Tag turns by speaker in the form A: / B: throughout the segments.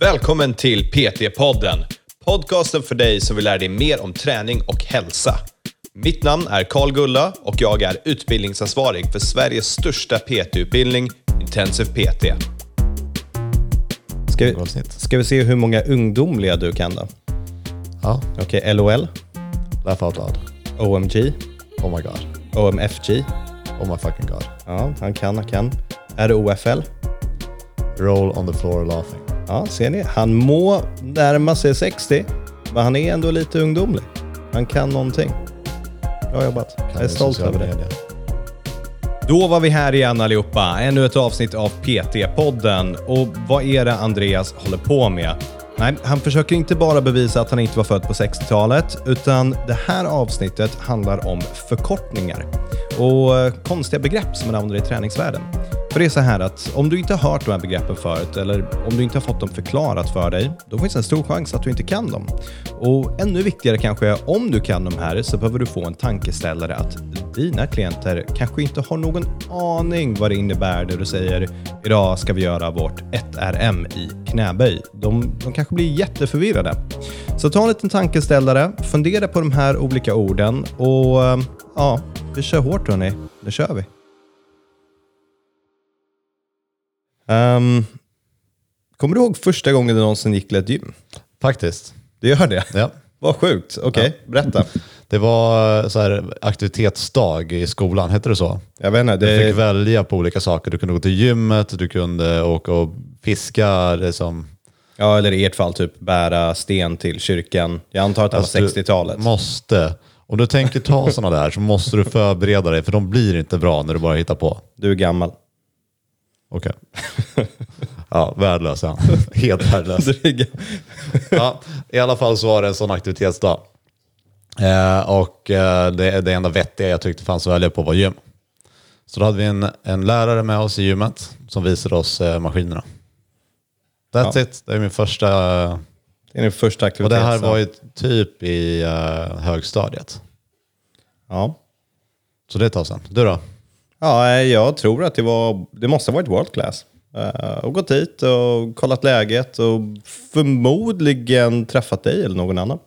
A: Välkommen till PT-podden. Podcasten för dig som vill lära dig mer om träning och hälsa. Mitt namn är Karl Gulla och jag är utbildningsansvarig för Sveriges största PT-utbildning, Intensiv PT. Ska vi,
B: avsnitt.
A: ska vi se hur många ungdomliga du kan då?
B: Ja,
A: Okej, LOL,
B: laugh out loud.
A: OMG,
B: Oh my god.
A: OMFG.
B: Oh my fucking god.
A: Ja, han kan, han kan. ROFL.
B: Roll on the floor laughing.
A: Ja, ser ni? Han må närma sig 60, men han är ändå lite ungdomlig. Han kan någonting. Bra jobbat. Jag är
B: Med
A: stolt
B: sociala
A: över det.
B: medier.
A: Då var vi här igen allihopa. Ännu ett avsnitt av PT-podden. Och vad är det Andreas håller på med? Nej, han försöker inte bara bevisa att han inte var född på 60-talet, utan det här avsnittet handlar om förkortningar och eh, konstiga begrepp som man använder i träningsvärlden. För det är så här att om du inte har hört de här begreppen förut eller om du inte har fått dem förklarat för dig, då finns det en stor chans att du inte kan dem. Och ännu viktigare kanske, om du kan de här så behöver du få en tankeställare att dina klienter kanske inte har någon aning vad det innebär när du säger idag ska vi göra vårt 1RM i knäböj. De, de kanske blir jätteförvirrade. Så ta en liten tankeställare, fundera på de här olika orden och eh, ja, vi kör hårt hörni. Nu kör vi. Ehm, kommer du ihåg första gången du någonsin gick till ett gym?
B: Faktiskt.
A: Du gör det?
B: Ja.
A: Vad sjukt. Okej, berätta.
B: Det var eh, så här, aktivitetsdag i skolan, hette det så?
A: Jag vet inte,
B: Du
A: det
B: fick välja på olika saker. Du kunde gå till gymmet, du kunde åka och fiska. Liksom.
A: ja, eller i ert fall typ bära sten till kyrkan. Jag antar att det
B: Alltså,
A: var
B: du
A: 60-talet.
B: Måste. Om du tänker ta sådana där så måste du förbereda dig, för de blir inte bra när du bara hittar på.
A: Du är gammal.
B: Okej. Ja, värdelös är han. Helt värdelös. ja, I alla fall så var det en sån aktivitetsdag. Eh, och eh, det, det enda vettiga jag tyckte fanns att välja på var gym. Så då hade vi en, en lärare med oss i gymmet som visade oss eh, maskinerna. That's it. Det är min första... eh,
A: Det är din första aktivitet.
B: och det här
A: så-
B: var ju typ i eh, högstadiet.
A: ja.
B: Så det tar sen. Du då?
A: ja, eh, jag tror att det var, det måste ha varit world class. Eh, och gått dit och kollat läget och förmodligen träffat dig eller någon annan.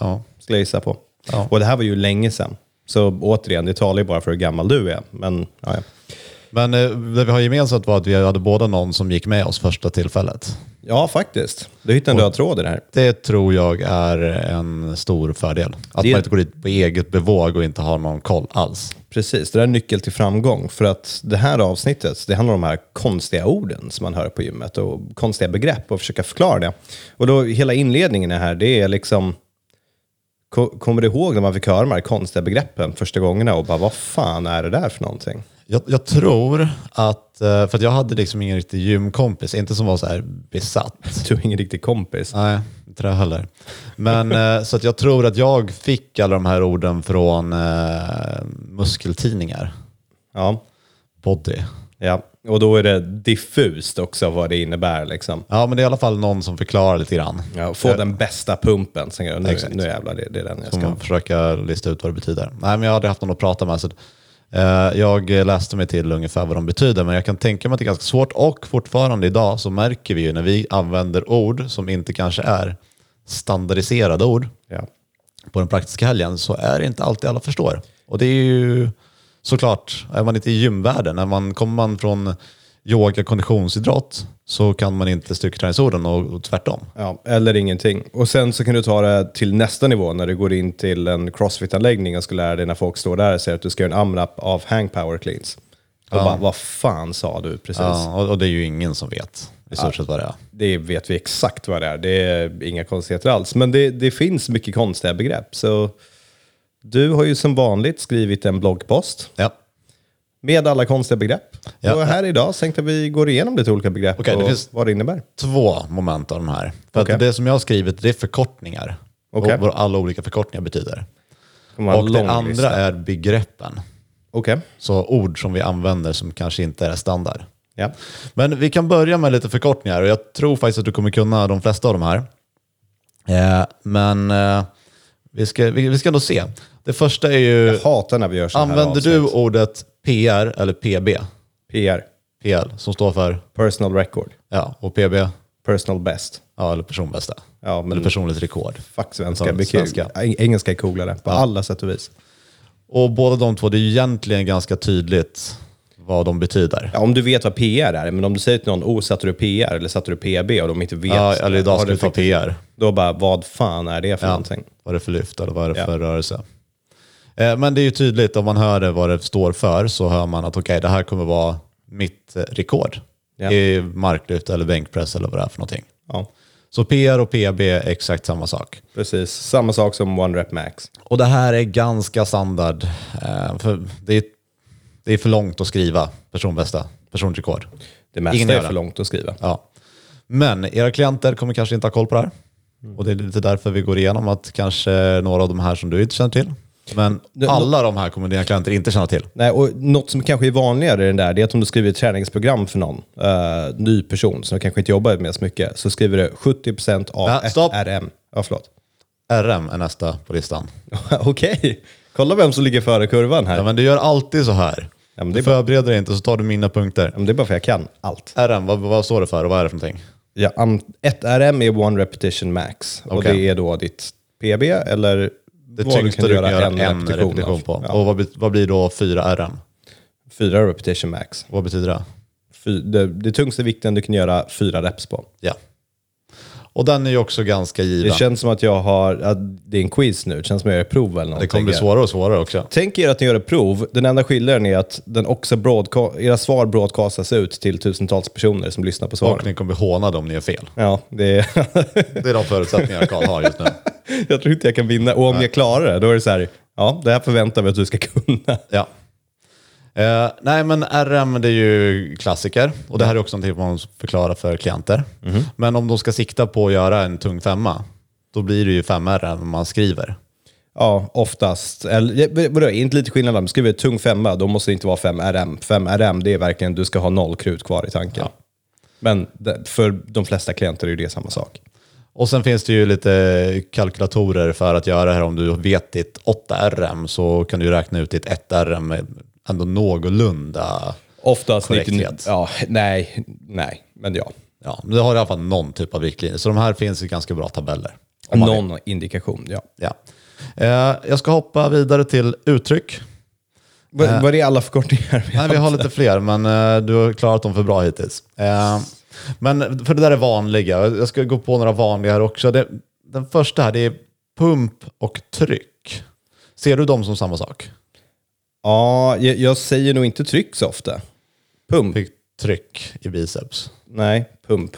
B: Ja.
A: Skulle jag gissa på.
B: Ja.
A: Och det här var ju länge sedan. Så återigen, det talar ju bara för hur gammal du är. Men ja, ja.
B: Men eh, det vi har gemensamt var att vi hade båda någon som gick med oss första tillfället.
A: ja faktiskt. Du hittade en röd tråd i det här.
B: Det tror jag är en stor fördel. Att
A: Det-
B: man inte går dit på eget bevåg och inte har någon koll alls.
A: Precis, det där är nyckel till framgång. För att det här avsnittet, det handlar om de här konstiga orden som man hör på gymmet och konstiga begrepp och försöka förklara det. Och då hela inledningen är här, det är liksom... ko- Kommer du ihåg när man fick höra de här konstiga begreppen första gångerna och bara vad fan är det där för någonting?
B: Jag, jag tror att, eh, för att jag hade liksom ingen riktig gymkompis, inte som var så här besatt.
A: Du är ingen riktig kompis.
B: Nej, inte det heller. Men eh, så att jag tror att jag fick alla de här orden från eh, muskeltidningar.
A: Ja,
B: Body.
A: ja. Och då är det diffust också vad det innebär liksom.
B: Ja, men det är i alla fall någon som förklarar lite grann.
A: Ja, få den bästa pumpen. Sen, nu,
B: Exakt. Mm.
A: nu jävlar, det, det är den jag
B: Ska
A: ska
B: man försöka lista ut vad det betyder. Nej, men jag har aldrig haft någon att prata med. Så, eh, jag läste mig till ungefär vad de betyder, men jag kan tänka mig att det är ganska svårt. Och fortfarande idag så märker vi ju när vi använder ord som inte kanske är standardiserade ord
A: Ja.
B: på den praktiska helgen så är det inte alltid alla förstår. Och det är ju såklart, är man inte i gymvärlden, när man, kommer man från yoga konditionsidrott så kan man inte styrketräningsorden och, och tvärtom.
A: Ja, eller ingenting. Och sen så kan du ta det till nästa nivå när du går in till en crossfit-anläggning och ska lära dig när folk står där och säger att du ska göra en AMRAP av hang power cleans. Och bara, vad fan sa du precis?
B: Ja, och, och det är ju ingen som vet i stort sett vad det är.
A: Det vet vi exakt vad det är. Det är inga konstigheter alls. Men det, det finns mycket konstiga begrepp. Så du har ju som vanligt skrivit en bloggpost
B: Ja.
A: med alla konstiga begrepp.
B: Ja.
A: Och här idag så tänkte jag vi går igenom lite olika begrepp
B: Okej, det
A: och
B: finns-
A: vad det innebär.
B: två moment av de här. För
A: Okej.
B: att det som jag har skrivit det är förkortningar.
A: Okej.
B: Och vad alla olika förkortningar betyder.
A: kommer vara en
B: Och det
A: lång
B: andra
A: lista.
B: är begreppen.
A: Okej,
B: Så ord som vi använder som kanske inte är standard.
A: ja.
B: Men vi kan börja med lite förkortningar och jag tror faktiskt att du kommer kunna de flesta av de här. Eh, men eh, vi, ska, vi, vi ska ändå se. Det första är ju,
A: Jag hatar när vi gör så här
B: använder
A: avsnitt.
B: du ordet PR eller PB?
A: PR,
B: PL som står för,
A: personal record.
B: ja, och PB
A: Personal best.
B: Ja, eller personbästa.
A: Ja, men-
B: Eller personligt rekord.
A: Fuck
B: Ja,
A: svenska. Det är kul.
B: svenska.
A: Eng- Engelska är coolare på alla sätt och vis.
B: Och båda de två, det är ju egentligen ganska tydligt vad de betyder.
A: Ja, om du vet vad PR är, men om du säger till någon, oh, satte du PR eller satte du PB och de inte vet.
B: Ja, eller idag
A: har
B: ska
A: du
B: vi ta
A: fick-
B: PR.
A: Då bara, vad fan är det för
B: Ja.
A: någonting?
B: Vad är det för lyft eller vad är det
A: Ja.
B: för rörelse? Eh, Men det är ju tydligt, om man hör det, vad det står för så hör man att okej, det här kommer vara mitt eh, rekord
A: Ja.
B: i marklyft eller bänkpress eller vad det är för någonting.
A: Ja,
B: Så PR och PB är exakt samma sak.
A: precis. Samma sak som One Rep Max.
B: Och det här är ganska standard. eh, För det, är, det är för långt att skriva personbästa, personrekord.
A: Det mesta
B: Ingen
A: är
B: göra.
A: för långt att skriva.
B: Ja. Men era klienter kommer kanske inte ha koll på det här. Och det är lite därför vi går igenom att kanske några av de här som du inte känner till. Men alla de här kommer dina klienter inte känna till.
A: Nej, och något som kanske är vanligare i den där, det är att om du skriver ett träningsprogram för någon eh, ny person som kanske inte jobbar med så mycket, så skriver du 70% av
B: Nej, stopp.
A: FRM. Ja, förlåt.
B: RM är nästa på listan.
A: Okej, kolla vem som ligger före kurvan här.
B: Ja, men du gör alltid så här.
A: Ja, men det
B: du
A: är bra.
B: förbereder dig inte så tar du mina punkter.
A: Ja, men Det är bara för jag kan allt.
B: RM, vad, vad står det för och vad är det för någonting?
A: Ja, am- ett RM är one repetition max. Och
B: Okej.
A: det är då ditt PB eller
B: Det tyngsta du kan göra, en repetition,
A: av.
B: på.
A: Ja,
B: Och vad, bet- vad blir då 4 RM?
A: fyra repetition max.
B: Vad betyder det?
A: Fy, det, det tyngsta vikten du kan göra fyra reps på.
B: Ja. Och den är ju också ganska
A: Det
B: given. Det,
A: känns som att jag har, att det är en quiz nu, det känns som att jag gör ett prov eller någonting.
B: kommer bli svårare och svårare också.
A: Tänk er att ni gör ett prov, den enda skillnaden är att den också broadca- era svar broadcastas ut till tusentals personer som lyssnar på svaren.
B: Och ni kommer bli hånade om ni gör fel.
A: Ja, det är,
B: Det är de förutsättningar Karl har just nu.
A: jag tror inte jag kan vinna. Och om jag klarar det, då är det så här, ja, det här förväntar vi att du ska kunna.
B: Ja. Eh, nej, men RM det är ju klassiker och det här är också någonting man förklarar för klienter. Men om de ska sikta på att göra en tung femma, då blir det ju 5 RM man skriver.
A: Ja, oftast. Eller, ja, vadå, inte lite skillnad. Om du skriver tung femma, då måste det inte vara 5 RM. 5 RM, det är verkligen, du ska ha noll krut kvar i tanken. Men det- för de flesta klienter är ju det samma sak.
B: Och sen finns det ju lite kalkylatorer för att göra det här. Om du vet ditt 8 RM så kan du räkna ut ditt 1 RM med ändå någorlunda.
A: Oftast
B: Korrekthet.
A: 99 Ja, nej, nej, men ja.
B: Ja, men du har i alla fall någon typ av riktlinjer. Så de här finns i ganska bra tabeller. Om man
A: Någon indikation, ja.
B: Ja. Eh, jag ska hoppa vidare till uttryck.
A: Vad vad är det alla förkortningar?
B: Eh. Nej, vi har lite fler, men eh, du har klarat dem för bra hittills. Eh, men för det där är vanliga. Jag ska gå på några vanliga här också. Det, den första här, det är pump och tryck. Ser du dem som samma sak?
A: Ja, jag, jag säger nog inte tryck så ofta. Pump?
B: Fick tryck i biceps.
A: Nej, pump.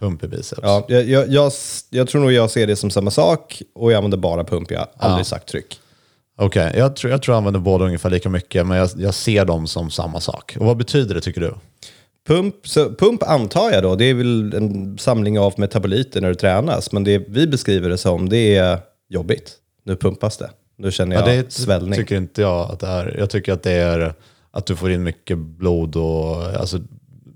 B: Pump i biceps.
A: Ja, jag, jag, jag, s- jag tror nog jag ser det som samma sak och jag använder bara pump. Jag har aldrig sagt tryck.
B: Okej, jag, tror, jag tror jag använder båda ungefär lika mycket, men jag, jag ser dem som samma sak. Och vad betyder det tycker du?
A: Pump, så, pump antar jag då, det är väl en samling av metaboliter när du tränas. Men det vi beskriver det som, det är jobbigt. Nu pumpas det. Nu känner jag
B: det är-
A: svällning.
B: tycker inte jag att det är. Jag tycker att det är att du får in mycket blod och alltså,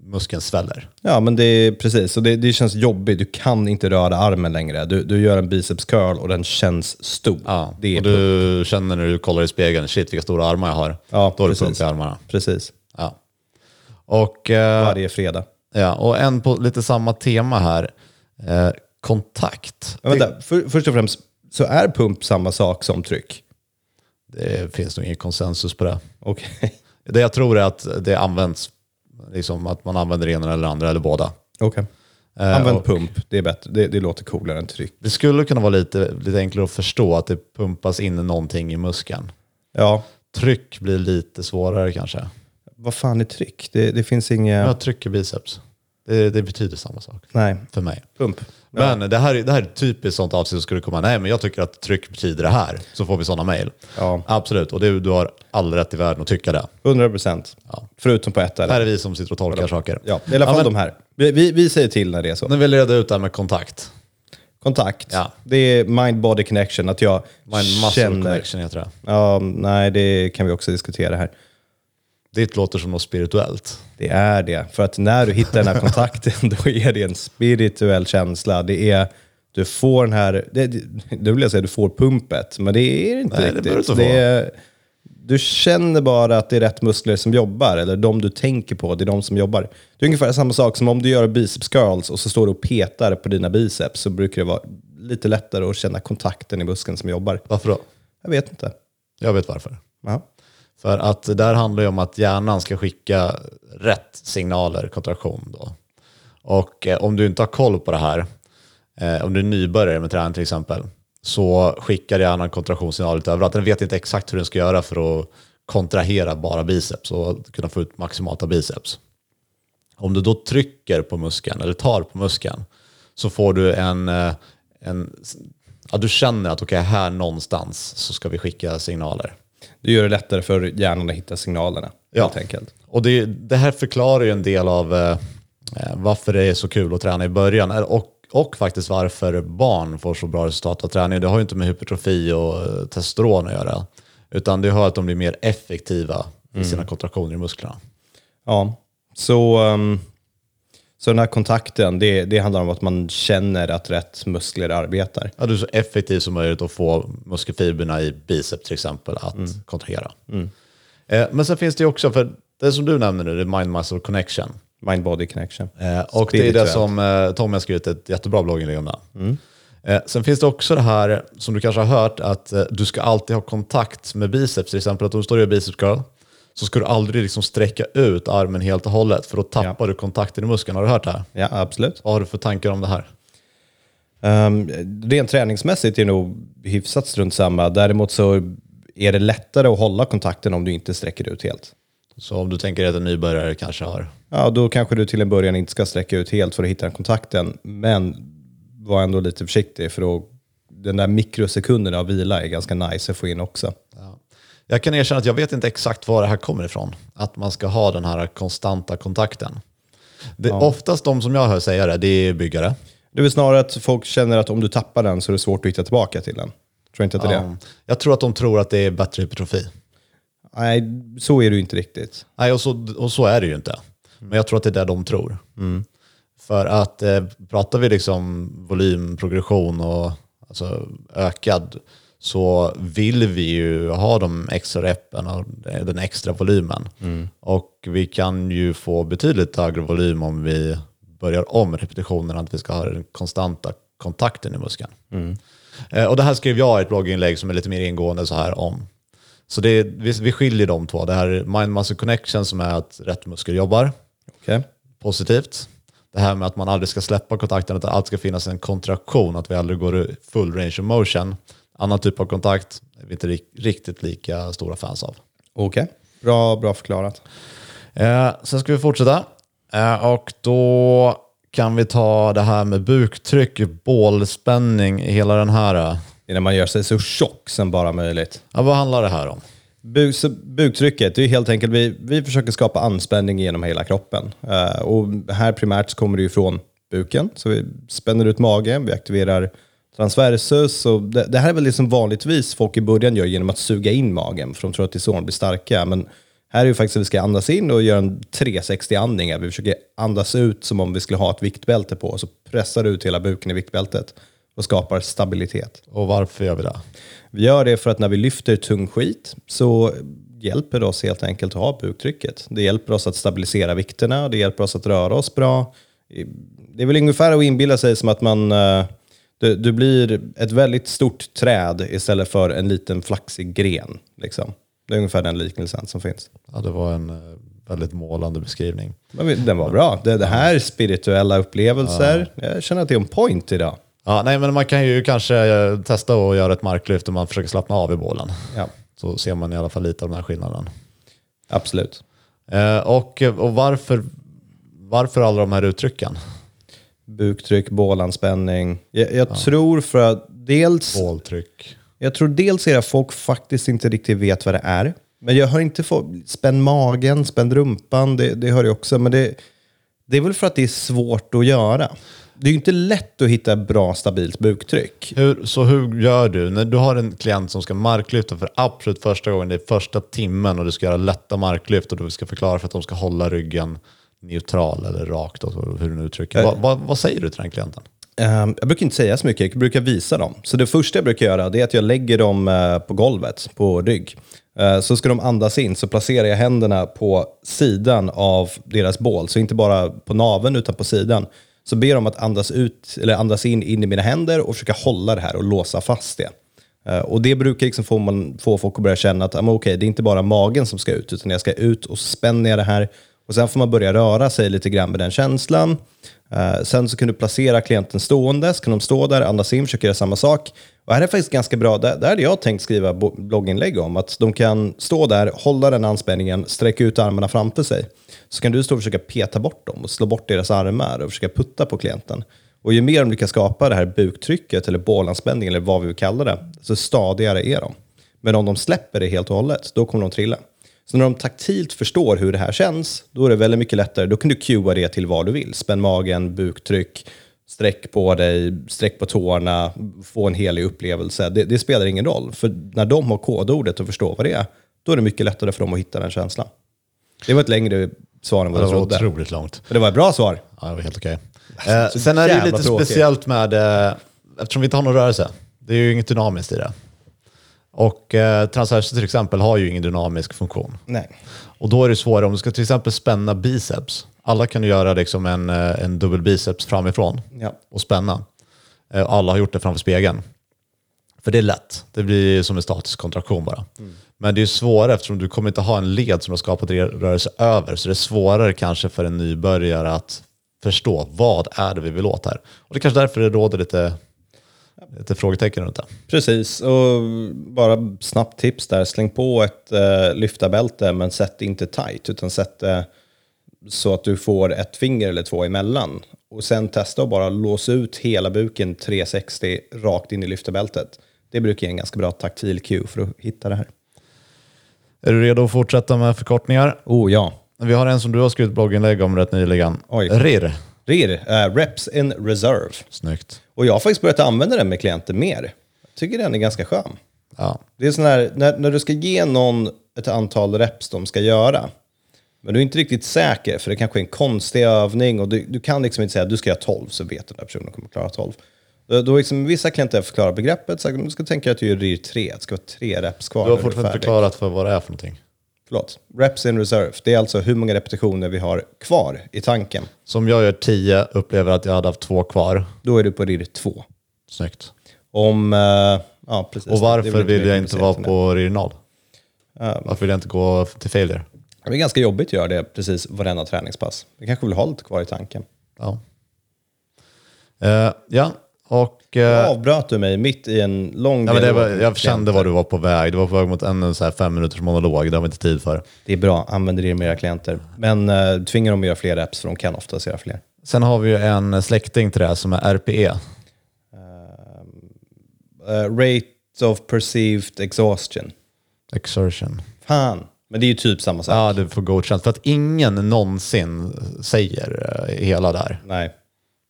B: muskeln sväller.
A: Ja, men det är precis. Och det, det känns jobbigt. Du kan inte röra armen längre. Du, du gör en biceps curl och den känns stor.
B: Ja,
A: det är
B: och du känner när du kollar i spegeln, shit vilka stora armar jag har.
A: Ja,
B: Då har du
A: precis.
B: pump i armarna.
A: Precis.
B: Ja. Och, eh,
A: Varje fredag.
B: ja, och en på lite samma tema här, eh, kontakt.
A: Men vänta, för, först och främst så är pump samma sak som tryck.
B: Det finns nog ingen konsensus på det.
A: Okej.
B: Det jag tror är att det används, liksom att man använder det ena eller andra eller båda.
A: Okej.
B: Eh,
A: Använd
B: och
A: pump, det är bättre. Det, det låter coolare än tryck.
B: det skulle kunna vara lite, lite enklare att förstå att det pumpas in någonting i muskeln.
A: Ja,
B: Tryck blir lite svårare kanske.
A: vad fan är tryck? Det, det finns inga...
B: Jag trycker biceps. Det, det betyder samma sak
A: Nej,
B: för mig.
A: pump.
B: Men det här, är- det här är ett typiskt sånt avsnitt som skulle komma, nej men jag tycker att tryck betyder det här, så får vi sådana mejl.
A: Ja.
B: Absolut, och du, du har all rätt i världen att tycka det.
A: 100 procent.
B: Ja.
A: Förutom på ett eller.
B: Här är vi som sitter och tolkar saker.
A: Ja, i alla fall
B: men
A: de här. Vi, vi, vi säger till när det är så.
B: Nu vill jag reda ut det här med kontakt.
A: Kontakt.
B: Ja.
A: Det är mind-body connection, att jag
B: Mind muscle
A: känner...
B: connection heter det.
A: Ja, nej, det kan vi också diskutera här.
B: Ditt låter som något spirituellt.
A: Det är det. För att när du hittar den här kontakten, då är det en spirituell känsla. Det är, du får den här, det, det- nu vill jag säga du får pumpet, men det är det inte
B: Nej, det
A: riktigt.
B: behöver du inte
A: är, du känner bara att det är rätt muskler som jobbar, eller de du tänker på, det är de som jobbar. Det är ungefär samma sak som om du gör biceps curls och så står du och petar på dina biceps, så brukar det vara lite lättare att känna kontakten i muskeln som jobbar.
B: Varför då?
A: Jag vet inte.
B: Jag vet varför.
A: Ja.
B: För att det där handlar ju om att hjärnan ska skicka rätt signaler, kontraktion då. Och eh, om du inte har koll på det här, eh, om du är nybörjare med träning till exempel, så skickar hjärnan kontraktionssignaler lite överallt. Den vet inte exakt hur den ska göra för att kontrahera bara biceps och kunna få ut maximalt av biceps. Om du då trycker på muskeln eller tar på muskeln så får du en... eh, en ja, du känner att okej, här någonstans så ska vi skicka signaler.
A: Du gör det lättare för hjärnan att hitta signalerna,
B: Ja.
A: helt enkelt.
B: Och det, det här förklarar ju en del av eh, eh, varför det är så kul att träna i början eh, och, och faktiskt varför barn får så bra resultat av träning. Det har ju inte med hypertrofi och eh, testosteron att göra, utan det har att de blir mer effektiva i sina kontraktioner i musklerna.
A: Ja, så, ehm, så den här kontakten, det, det handlar om att man känner att rätt muskler arbetar.
B: Ja, du är så effektiv som möjligt att få muskelfibrerna i bicep till exempel att kontrahera. Eh, men sen finns det ju också, för det som du nämner nu, det är mind-muscle connection.
A: Mind-body connection.
B: Eh, och det är det
A: Spirituellt.
B: som eh, Tommy har skrivit ett jättebra blogginlägg om. det. Eh, sen finns det också det här som du kanske har hört att eh, du ska alltid ha kontakt med biceps. Till exempel att om du står och gör biceps curl så ska du aldrig liksom sträcka ut armen helt och hållet för då tappar du kontakten i muskeln. Har du hört det här?
A: Ja, absolut.
B: Vad har du för tankar om det här?
A: Um, rent träningsmässigt är det nog hyfsat strunt samma. Däremot så är det lättare att hålla kontakten om du inte sträcker ut helt.
B: Så om du tänker att en nybörjare kanske har...
A: Ja, då kanske du till en början inte ska sträcka ut helt för att hitta den kontakten. Men var ändå lite försiktig för då, den där mikrosekunden av vila är ganska nice att få in också.
B: Ja. Jag kan erkänna att jag vet inte exakt var det här kommer ifrån. Att man ska ha den här konstanta kontakten. Det, Oftast de som jag hör säga det, det är byggare.
A: Det är väl snarare att folk känner att om du tappar den så är det svårt att hitta tillbaka till den. Tror inte att det är det?
B: Ja. Jag tror att de tror att det är bättre hypertrofi.
A: Nej, så är det ju inte riktigt.
B: Nej, och så, och så är det ju inte. Men jag tror att det är det de tror. Mm. För att eh, pratar vi liksom volym, progression och alltså, ökad så vill vi ju ha de extra reppen och den extra volymen. Och vi kan ju få betydligt högre volym om vi börjar om repetitionerna, att vi ska ha den konstanta kontakten i muskeln. Eh, och det här skrev jag i ett blogginlägg som är lite mer ingående så här om. Så det, är- vi, vi skiljer de två. Det här är mind muscle connection som är att rätt muskel jobbar
A: Okej?
B: positivt. Det här med att man aldrig ska släppa kontakten, att det alltid ska finnas en kontraktion, att vi aldrig går i full range of motion. Annan typ av kontakt är vi inte rik- riktigt lika stora fans av.
A: Okej. Bra, bra förklarat.
B: Eh, sen ska vi fortsätta. Eh, och då kan vi ta det här med buktryck, bålspänning, hela den här. eh.
A: Det är när man gör sig så tjock som bara möjligt.
B: Ja, vad handlar det här om?
A: Bu- så buktrycket, det är ju helt enkelt, vi, vi försöker skapa anspänning genom hela kroppen. Eh, och här primärt så kommer det ju från buken, så vi spänner ut magen, vi aktiverar transversus. Och det, det här är väl det som vanligtvis folk i början gör genom att suga in magen, för de tror att det är så de blir starka. Men här är ju faktiskt att vi ska andas in och göra en 360-andning. Vi försöker andas ut som om vi skulle ha ett viktbälte på, så pressar ut hela buken i viktbältet och skapar stabilitet.
B: Och varför gör vi det?
A: Vi gör det för att när vi lyfter tung skit så hjälper det oss helt enkelt att ha buktrycket. Det hjälper oss att stabilisera vikterna, det hjälper oss att röra oss bra. Det är väl ungefär att inbilla sig som att man... eh, Du, du blir ett väldigt stort träd istället för en liten flaxig gren. Liksom. Det är ungefär den liknelsen som finns.
B: Ja, det var en eh, väldigt målande beskrivning.
A: Men vi- den var bra. Det, det här är spirituella upplevelser. Jag känner att det är en point idag.
B: Ja, nej, men man kan ju kanske eh, testa att göra ett marklyft om man försöker slappna av i bålen.
A: Ja,
B: Så ser man i alla fall lite av den här skillnaden.
A: absolut.
B: Eh, och och varför, varför alla de här uttrycken?
A: Buktryck, bålanspänning. Jag, jag tror för att dels...
B: Båltryck.
A: Jag tror dels är det att folk faktiskt inte riktigt vet vad det är. Men jag hör inte folk, spänn magen, spänn rumpan, det, det hör jag också. Men det, det är väl för att det är svårt att göra. Det är ju inte lätt att hitta bra stabilt buktryck.
B: Hur, så hur gör du? När du har en klient som ska marklyfta för absolut första gången, det är första timmen och du ska göra lätta marklyft och du ska förklara för att de ska hålla ryggen neutral eller rakt, och så, hur du nu
A: Eh.
B: uttrycker. Vad, vad, vad säger du till den klienten?
A: Ehm, Jag brukar inte säga så mycket, jag brukar visa dem. Så det första jag brukar göra det är att jag lägger dem eh, på golvet, på rygg. eh, så ska de andas in, så placerar jag händerna på sidan av deras bål. Så inte bara på naven utan på sidan. Så ber de att andas, ut, eller andas in, in i mina händer och försöka hålla det här och låsa fast det. Eh, Och det brukar liksom få, man, få folk att börja känna att ah, men okej, det är inte bara magen som ska ut, utan jag ska ut och så spänner jag det här. Och sen får man börja röra sig lite grann med den känslan. Eh, sen så kan du placera klienten stående, så kan de stå där, andas in, försöka göra samma sak. Och här är faktiskt ganska bra, där, där hade jag tänkt skriva bo- blogginlägg om, att de kan stå där, hålla den anspänningen, sträcka ut armarna framför sig. Så kan du stå och försöka peta bort dem och slå bort deras armar och försöka putta på klienten. Och ju mer de lyckas skapa det här buktrycket eller bålanspänning eller vad vi vill kalla det, så stadigare är de. Men om de släpper det helt och hållet, då kommer de trilla. Så när de taktilt förstår hur det här känns, då är det väldigt mycket lättare. Då kan du cuea det till vad du vill. Spänn magen, buktryck, sträck på dig, sträck på tårna, få en helig upplevelse. Det, det spelar ingen roll, för när de har kodordet och förstår vad det är, då är det mycket lättare för dem att hitta den känslan. Det var ett längre svar än vad
B: Det
A: jag
B: var
A: trodde.
B: otroligt långt.
A: Men det var ett bra svar.
B: Ja, det var helt okej. Eh, sen är det ju
A: jävla
B: lite
A: tråkigt.
B: speciellt med, eh, eftersom vi inte har någon rörelse, det är ju inget dynamiskt i det. Och eh, transverser till exempel har ju ingen dynamisk funktion.
A: Nej.
B: Och då är det svårare om du ska till exempel spänna biceps. Alla kan ju göra liksom en, eh, en dubbel biceps framifrån
A: Ja.
B: och spänna. Eh, Alla har gjort det framför spegeln. För det är lätt. Det blir ju som en statisk kontraktion bara.
A: Mm.
B: Men det är ju svårare eftersom du kommer inte ha en led som du har skapat re- rörelse över. Så det är svårare kanske för en nybörjare att förstå vad är det vi vill åt här. Och det är kanske därför det råder lite, lite frågetecken runt det.
A: Precis, och bara snabbt tips där. Släng på ett eh, lyftarbälte, men sätt det inte tight, utan sätt det så att du får ett finger eller två emellan. Och sen testa att bara låsa ut hela buken 360 rakt in i lyftarbältet. Det brukar ge en ganska bra taktil cue för att hitta det här.
B: Är du redo att fortsätta med förkortningar?
A: Oh ja.
B: Vi har en som du har skrivit blogginlägg om rätt nyligen.
A: Oj.
B: RIR.
A: RIR, eh, reps in reserve.
B: Snyggt.
A: Och jag har faktiskt börjat använda den med klienter mer. Jag tycker den är ganska skön.
B: Ja.
A: Det är sån här, när, när du ska ge någon ett antal reps de ska göra, men du är inte riktigt säker, för det kanske är en konstig övning och du, du kan liksom inte säga att du ska göra 12, så vet du att den här personen kommer klara 12. Då, då liksom, vissa klienter förklarar begreppet, så här, du ska tänka att du gör RIR 3, det ska vara tre reps kvar.
B: Du har
A: när är
B: fortfarande inte
A: färdig.
B: förklarat för vad det är för någonting.
A: Förlåt, reps in reserve, det är alltså hur många repetitioner vi har kvar i tanken.
B: Som jag gör 10, upplever att jag hade haft två kvar.
A: Då är du på RIR 2.
B: Snyggt.
A: Om, eh, ja precis.
B: Och
A: Det
B: varför
A: är väl
B: vill
A: mer
B: jag inte vara
A: komplicerat än det.
B: på RIR 0? Varför vill jag inte gå till failure?
A: Det är ganska jobbigt att göra det precis varenda träningspass. Vi kanske vill ha lite kvar i tanken.
B: Ja. Eh, ja, och... eh,
A: Då avbröt du mig mitt i en lång
B: ja, men det
A: dialog
B: var,
A: med
B: jag kände
A: klienter.
B: var du var på väg. Du var på väg mot en så här fem minuters monolog. Det har vi inte tid för.
A: Det är bra, använder det med era klienter. Men eh, tvinga dem att göra fler reps för de kan oftast göra fler.
B: Sen har vi ju en släkting till det här som är E. RPE.
A: Eh, rate of perceived exhaustion.
B: Exertion.
A: Fan, men det är ju typ samma sak.
B: Ja, du får godkänt. För att ingen någonsin säger eh, hela där.
A: Nej,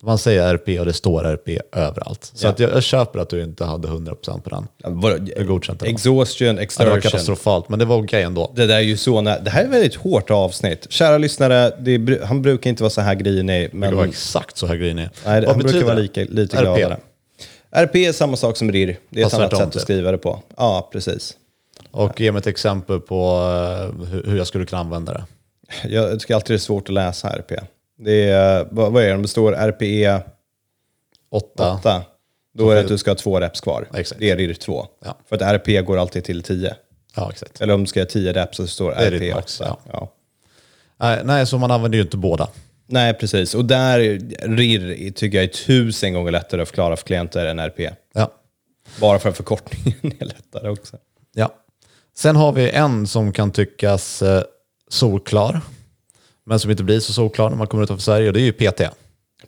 B: Man säger RP och det står RP överallt. Så
A: Ja.
B: att jag, jag köper att du inte hade 100% på den.
A: Ja, vadå?
B: Jag godkände den.
A: exhaustion,
B: Ja, Det var
A: exertion.
B: katastrofalt, men det var okej ändå.
A: Det där är ju så nä- Det här är ett väldigt hårt avsnitt. Kära lyssnare, det är, bru- han brukar inte vara så här grinig,
B: Det var
A: men
B: exakt så här grinig.
A: Nej, han brukar vara lika, lite gladare. RP är samma sak som RIR. Det är ett
B: Fast
A: annat
B: tvärtom,
A: sätt att
B: typ.
A: skriva det på. Ja, precis.
B: Och ge mig ett exempel på eh, hur, hur jag skulle kunna använda det.
A: Jag tycker alltid det är svårt att läsa RP. Det är, vad, vad är det? De består RPE
B: 8.
A: 8. E Då är det att du ska ha två reps kvar.
B: Exakt.
A: Det är RIR 2.
B: Ja.
A: För att RP går alltid till 10.
B: Ja, exakt.
A: Eller om du ska göra 10 reps så står
B: är
A: RP
B: ditt
A: 8.
B: max, ja.
A: Ja.
B: Nej, nej, så man använder ju inte båda.
A: Nej, precis. Och där, RIR tycker jag är tusen gånger lättare att förklara för klienter än RP.
B: Ja.
A: Bara för att förkortningen är lättare också.
B: Ja. Sen har vi en som kan tyckas eh, solklar, men som inte blir så solklar när man kommer utanför Sverige, och det är ju PT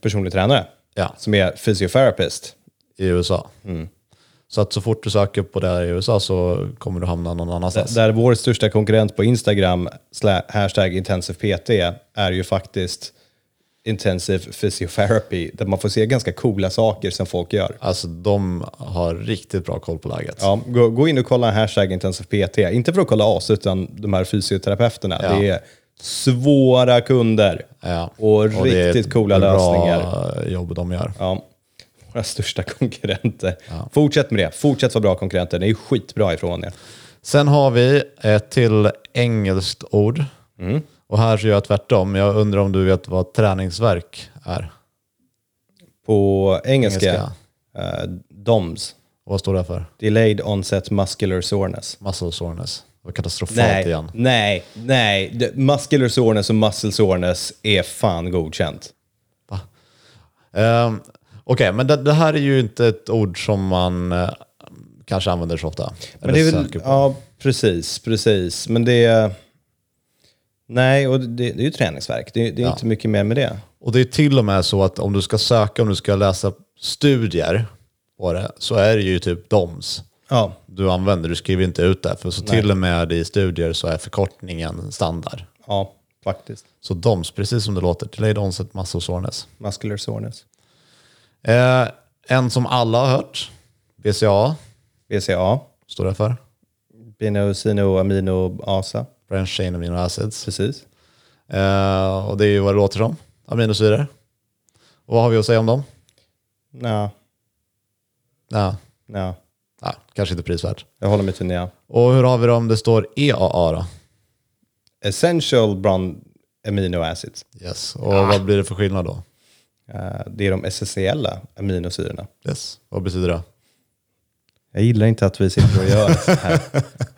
A: Personlig tränare,
B: ja,
A: som är fysiotherapist.
B: i USA.
A: Mm.
B: Så att så fort du söker på det här i USA så kommer du hamna någon annanstans.
A: Där vår största konkurrent på Instagram, slä- hashtag intensivpt, är ju faktiskt intensive physiotherapy, där man får se ganska coola saker som folk gör.
B: Alltså de har riktigt bra koll på läget.
A: Ja, gå, gå in och kolla hashtag intensivpt, inte för att kolla oss, utan de här fysioterapeuterna.
B: Ja.
A: Det är svåra kunder
B: Ja.
A: och,
B: det är
A: riktigt
B: ett
A: coola
B: bra
A: lösningar.
B: jobb de gör.
A: Ja. Våra största konkurrenter. Fortsätt med det, fortsätt vara bra konkurrenter, ni är skitbra ifrån er.
B: Sen har vi ett till engelskt ord.
A: Mm.
B: Och här så gör jag tvärtom. Jag undrar om du vet vad träningsverk är?
A: På engelska,
B: Engelska.
A: eh, DOMS,
B: Och vad står det för?
A: Delayed Onset Muscular Soreness.
B: Muscle soreness. Det var katastrofalt
A: Nej,
B: igen.
A: nej, nej. Det- Muscular soreness och muscle soreness är fan godkänt.
B: Ehm, Okej, men det, det här är ju inte ett ord som man eh, kanske använder så ofta.
A: Men det är väl, ja, precis, precis. Men det är... Nej, och det, det är ju träningsverk. Det, det är inte mycket mer med det.
B: Och det är till och med så att om du ska söka, om du ska läsa studier på det, så är det ju typ DOMS
A: Ja,
B: du använder. Du skriver inte ut det, för så till och med i studier så är förkortningen standard.
A: ja, faktiskt.
B: Så DOMS, precis som det låter, delayed onset muscle soreness.
A: Muscular soreness.
B: Eh, en som alla har hört, BCA,
A: BCA,
B: står det för.
A: Binocynoaminoasa.
B: Branch chain amino acids.
A: Precis.
B: Eh, och det är ju vad det låter som, aminosyror. Och vad har vi att säga om dem?
A: Nja,
B: Nej,
A: nja.
B: nej, kanske inte prisvärt.
A: Jag håller mig till nja.
B: Och hur har vi det om det står EAA då?
A: Essential brand amino acids.
B: Yes, och vad blir det för skillnad då?
A: Eh, Det är de essentiella aminosyrorna.
B: Yes. Vad betyder det?
A: Jag gillar inte att vi sitter och gör så här.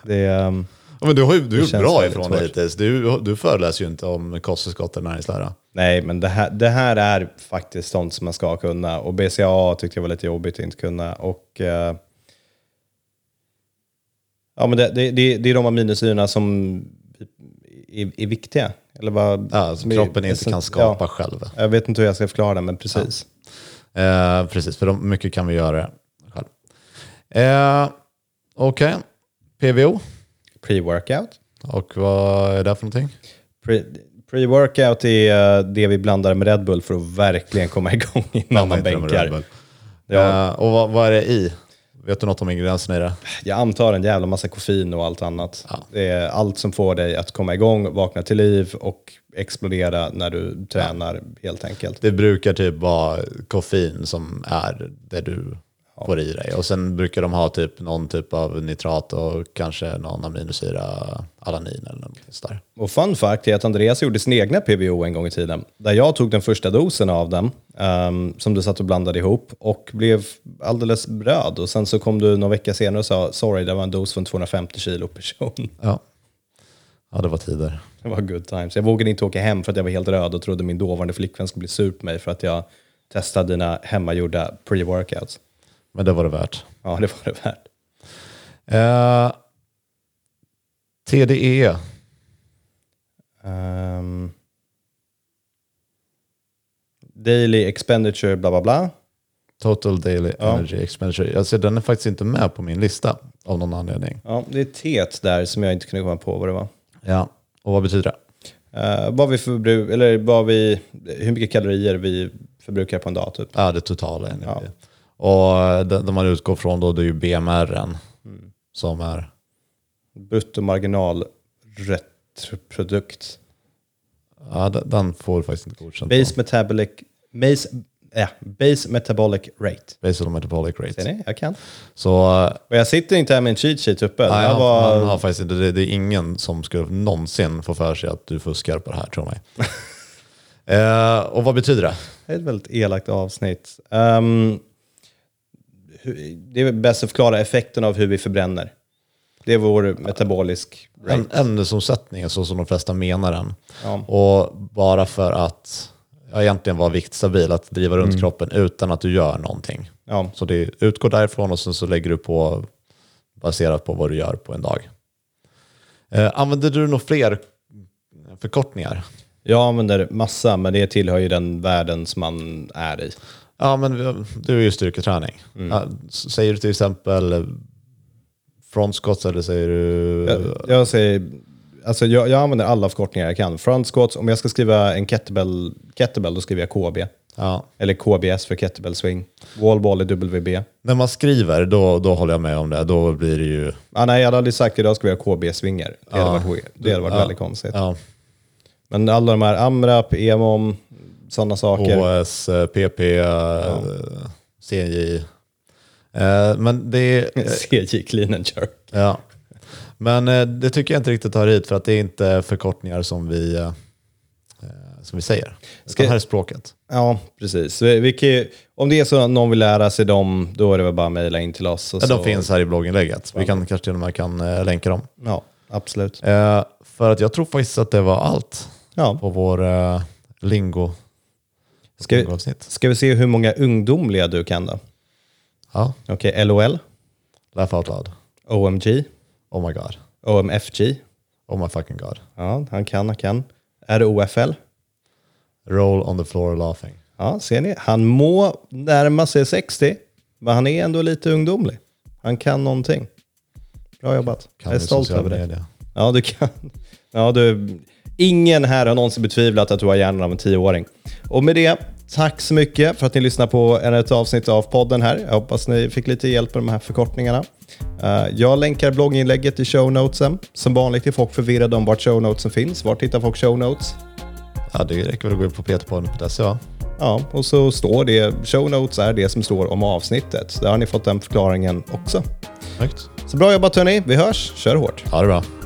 A: Det är, ehm,
B: Ja, men du har ju du har gjort
A: känns
B: bra
A: väldigt
B: ifrån
A: svårt.
B: dig hittills. Du, du föreläser ju inte om kosttillskott eller näringslära.
A: nej, men det här, det här är faktiskt sånt som man ska kunna. Och BCAA tyckte jag var lite jobbigt att inte kunna. Och, eh, ja, men det, det, det, det är de aminosyrorna som är, är viktiga. Eller vad,
B: Ja, som
A: som är
B: kroppen inte
A: essen-
B: kan skapa
A: Ja,
B: själv.
A: jag vet inte hur jag ska förklara det, men precis.
B: Eh, precis, för de, mycket kan vi göra själv. Eh, Okej, PVO.
A: Pre-workout.
B: Och vad är det för någonting?
A: Pre- Pre-workout är eh, det vi blandar med Red Bull för att verkligen komma igång innan man
B: Inte de Red
A: bänkar.
B: Bull.
A: Ja,
B: Eh, och vad, vad är det i? Vet du något om ingredienserna i det?
A: jag antar en jävla massa koffein och allt annat. Det är allt som får dig att komma igång, vakna till liv och explodera när du tränar helt enkelt.
B: Det brukar typ vara koffein som är det du får i dig. Och sen brukar de ha typ någon typ av nitrat och kanske någon aminosyra, alanin eller något sådär.
A: Och fun fact är att Andreas gjorde sin egna PVO en gång i tiden, där jag tog den första dosen av den, ehm, som du satt och blandade ihop, och blev alldeles röd. Och sen så kom du någon vecka senare och sa, sorry, det var en dos från 250 kilo person.
B: Ja. ja, det var tider.
A: Det var good times. Jag vågade inte åka hem för att jag var helt röd och trodde min dåvarande flickvän skulle bli sur på mig för att jag testade dina hemmagjorda pre-workouts.
B: Men det var det värt.
A: Ja, det var det värt.
B: Eh, E, TDE,
A: Ehm, daily expenditure, bla bla bla.
B: Total Daily Energy Expenditure. Alltså, den är faktiskt inte med på min lista av någon anledning.
A: Ja, det är teet där som jag inte kunde komma på vad det var.
B: Ja, och vad betyder det?
A: Eh, vad vi förbrukar, eller vad vi, hur mycket kalorier vi förbrukar på en dag typ.
B: Ja, det totala energi. Och eh, det, det man utgår från då, det är ju BMR Mm. som är
A: Bruttomarginal retroprodukt.
B: Ja, de- den får faktiskt inte godkänt.
A: Base metabolic, base, ja, base metabolic rate.
B: Basal metabolic rate.
A: Ser ni? Jag kan.
B: Så eh,
A: Och jag sitter inte här med en cheat sheet uppe. Det
B: nej,
A: här
B: han,
A: var...
B: han har faktiskt inte, det, det är ingen som skulle någonsin få för sig att du fuskar på det här, tror mig. eh, och vad betyder det?
A: Det är ett väldigt elakt avsnitt. Ehm, hur- det är bäst att förklara effekten av hur vi förbränner. Det är vår metabolisk rate.
B: En, ämnesomsättningen, så som de flesta menar den.
A: Ja.
B: Och bara för att ja, egentligen vara viktstabil, att driva
A: Mm.
B: runt kroppen utan att du gör någonting.
A: Ja.
B: Så det utgår därifrån och sen så lägger du på baserat på vad du gör på en dag. Eh, använder du några fler förkortningar?
A: Jag använder massa, men det tillhör ju den världen som man är i.
B: Ja, men vi- det är ju styrketräning. Ja, s- säger du till exempel eh, front squats eller säger du...
A: Jag, jag säger... Alltså jag, jag använder alla förkortningar jag kan. Front squats, om jag ska skriva en kettlebell, kettlebell då skriver jag KB.
B: Ja.
A: Eller KBS för kettlebell swing. Wall ball är WB.
B: När man skriver, då, då håller jag med om det. Då blir det ju...
A: Ah, nej, jag hade aldrig sagt idag ska vi ha KB-svingar. Det hade varit, weird. det hade varit väldigt konstigt.
B: Ja,
A: Men alla de här AMRAP, EMOM, sådana saker.
B: HS, eh, PP, eh, CNJ. Eh, Men det är...
A: CJ Clean and Jerk.
B: Ja. Men eh, det tycker jag inte riktigt hör hit för att det är inte förkortningar som vi, eh, som vi säger.
A: Ska-
B: Ska... Det här är språket.
A: Ja, precis. Vi, vi kan ju, om det är så att någon vill lära sig dem, då är det väl bara att mejla in till oss. Och
B: Ja,
A: så.
B: de finns här i blogginlägget. Vi kan kanske till och med kan eh, länka dem.
A: Ja, absolut.
B: Eh, för att jag tror faktiskt att det var allt
A: Ja.
B: på vår eh, lingo.
A: Ska, vi,
B: avsnitt.
A: ska vi se hur många ungdomliga du kan då?
B: Ja,
A: Okej, LOL,
B: laugh out loud.
A: OMG,
B: Oh my god.
A: OMFG.
B: Oh my fucking god.
A: Ja, han kan, han kan. ROFL.
B: Roll on the floor laughing.
A: Ja, ser ni? Han må närma sig 60, men han är ändå lite ungdomlig. Han kan någonting. Bra jobbat.
B: Kan
A: Jag är
B: vi
A: stolt
B: sociala
A: över dig.
B: medier.
A: Ja, du kan. Ja, du. Ingen här har någonsin betvivlat att du har hjärnan av en tioåring. Och med det, tack så mycket för att ni lyssnar på ännu ett avsnitt av podden här. Jag hoppas ni fick lite hjälp med de här förkortningarna. Eh, Jag länkar blogginlägget i show notesen. Som vanligt är folk förvirrade om vart show notesen finns. Var hittar folk show notes?
B: Ja, det räcker väl att gå in på ptpodden.se va?
A: Ja, och så står det, show notes är det som står om avsnittet. Så Där har ni fått den förklaringen också.
B: Snyggt.
A: Så bra jobbat hörni, vi hörs, kör hårt.
B: Ha det bra.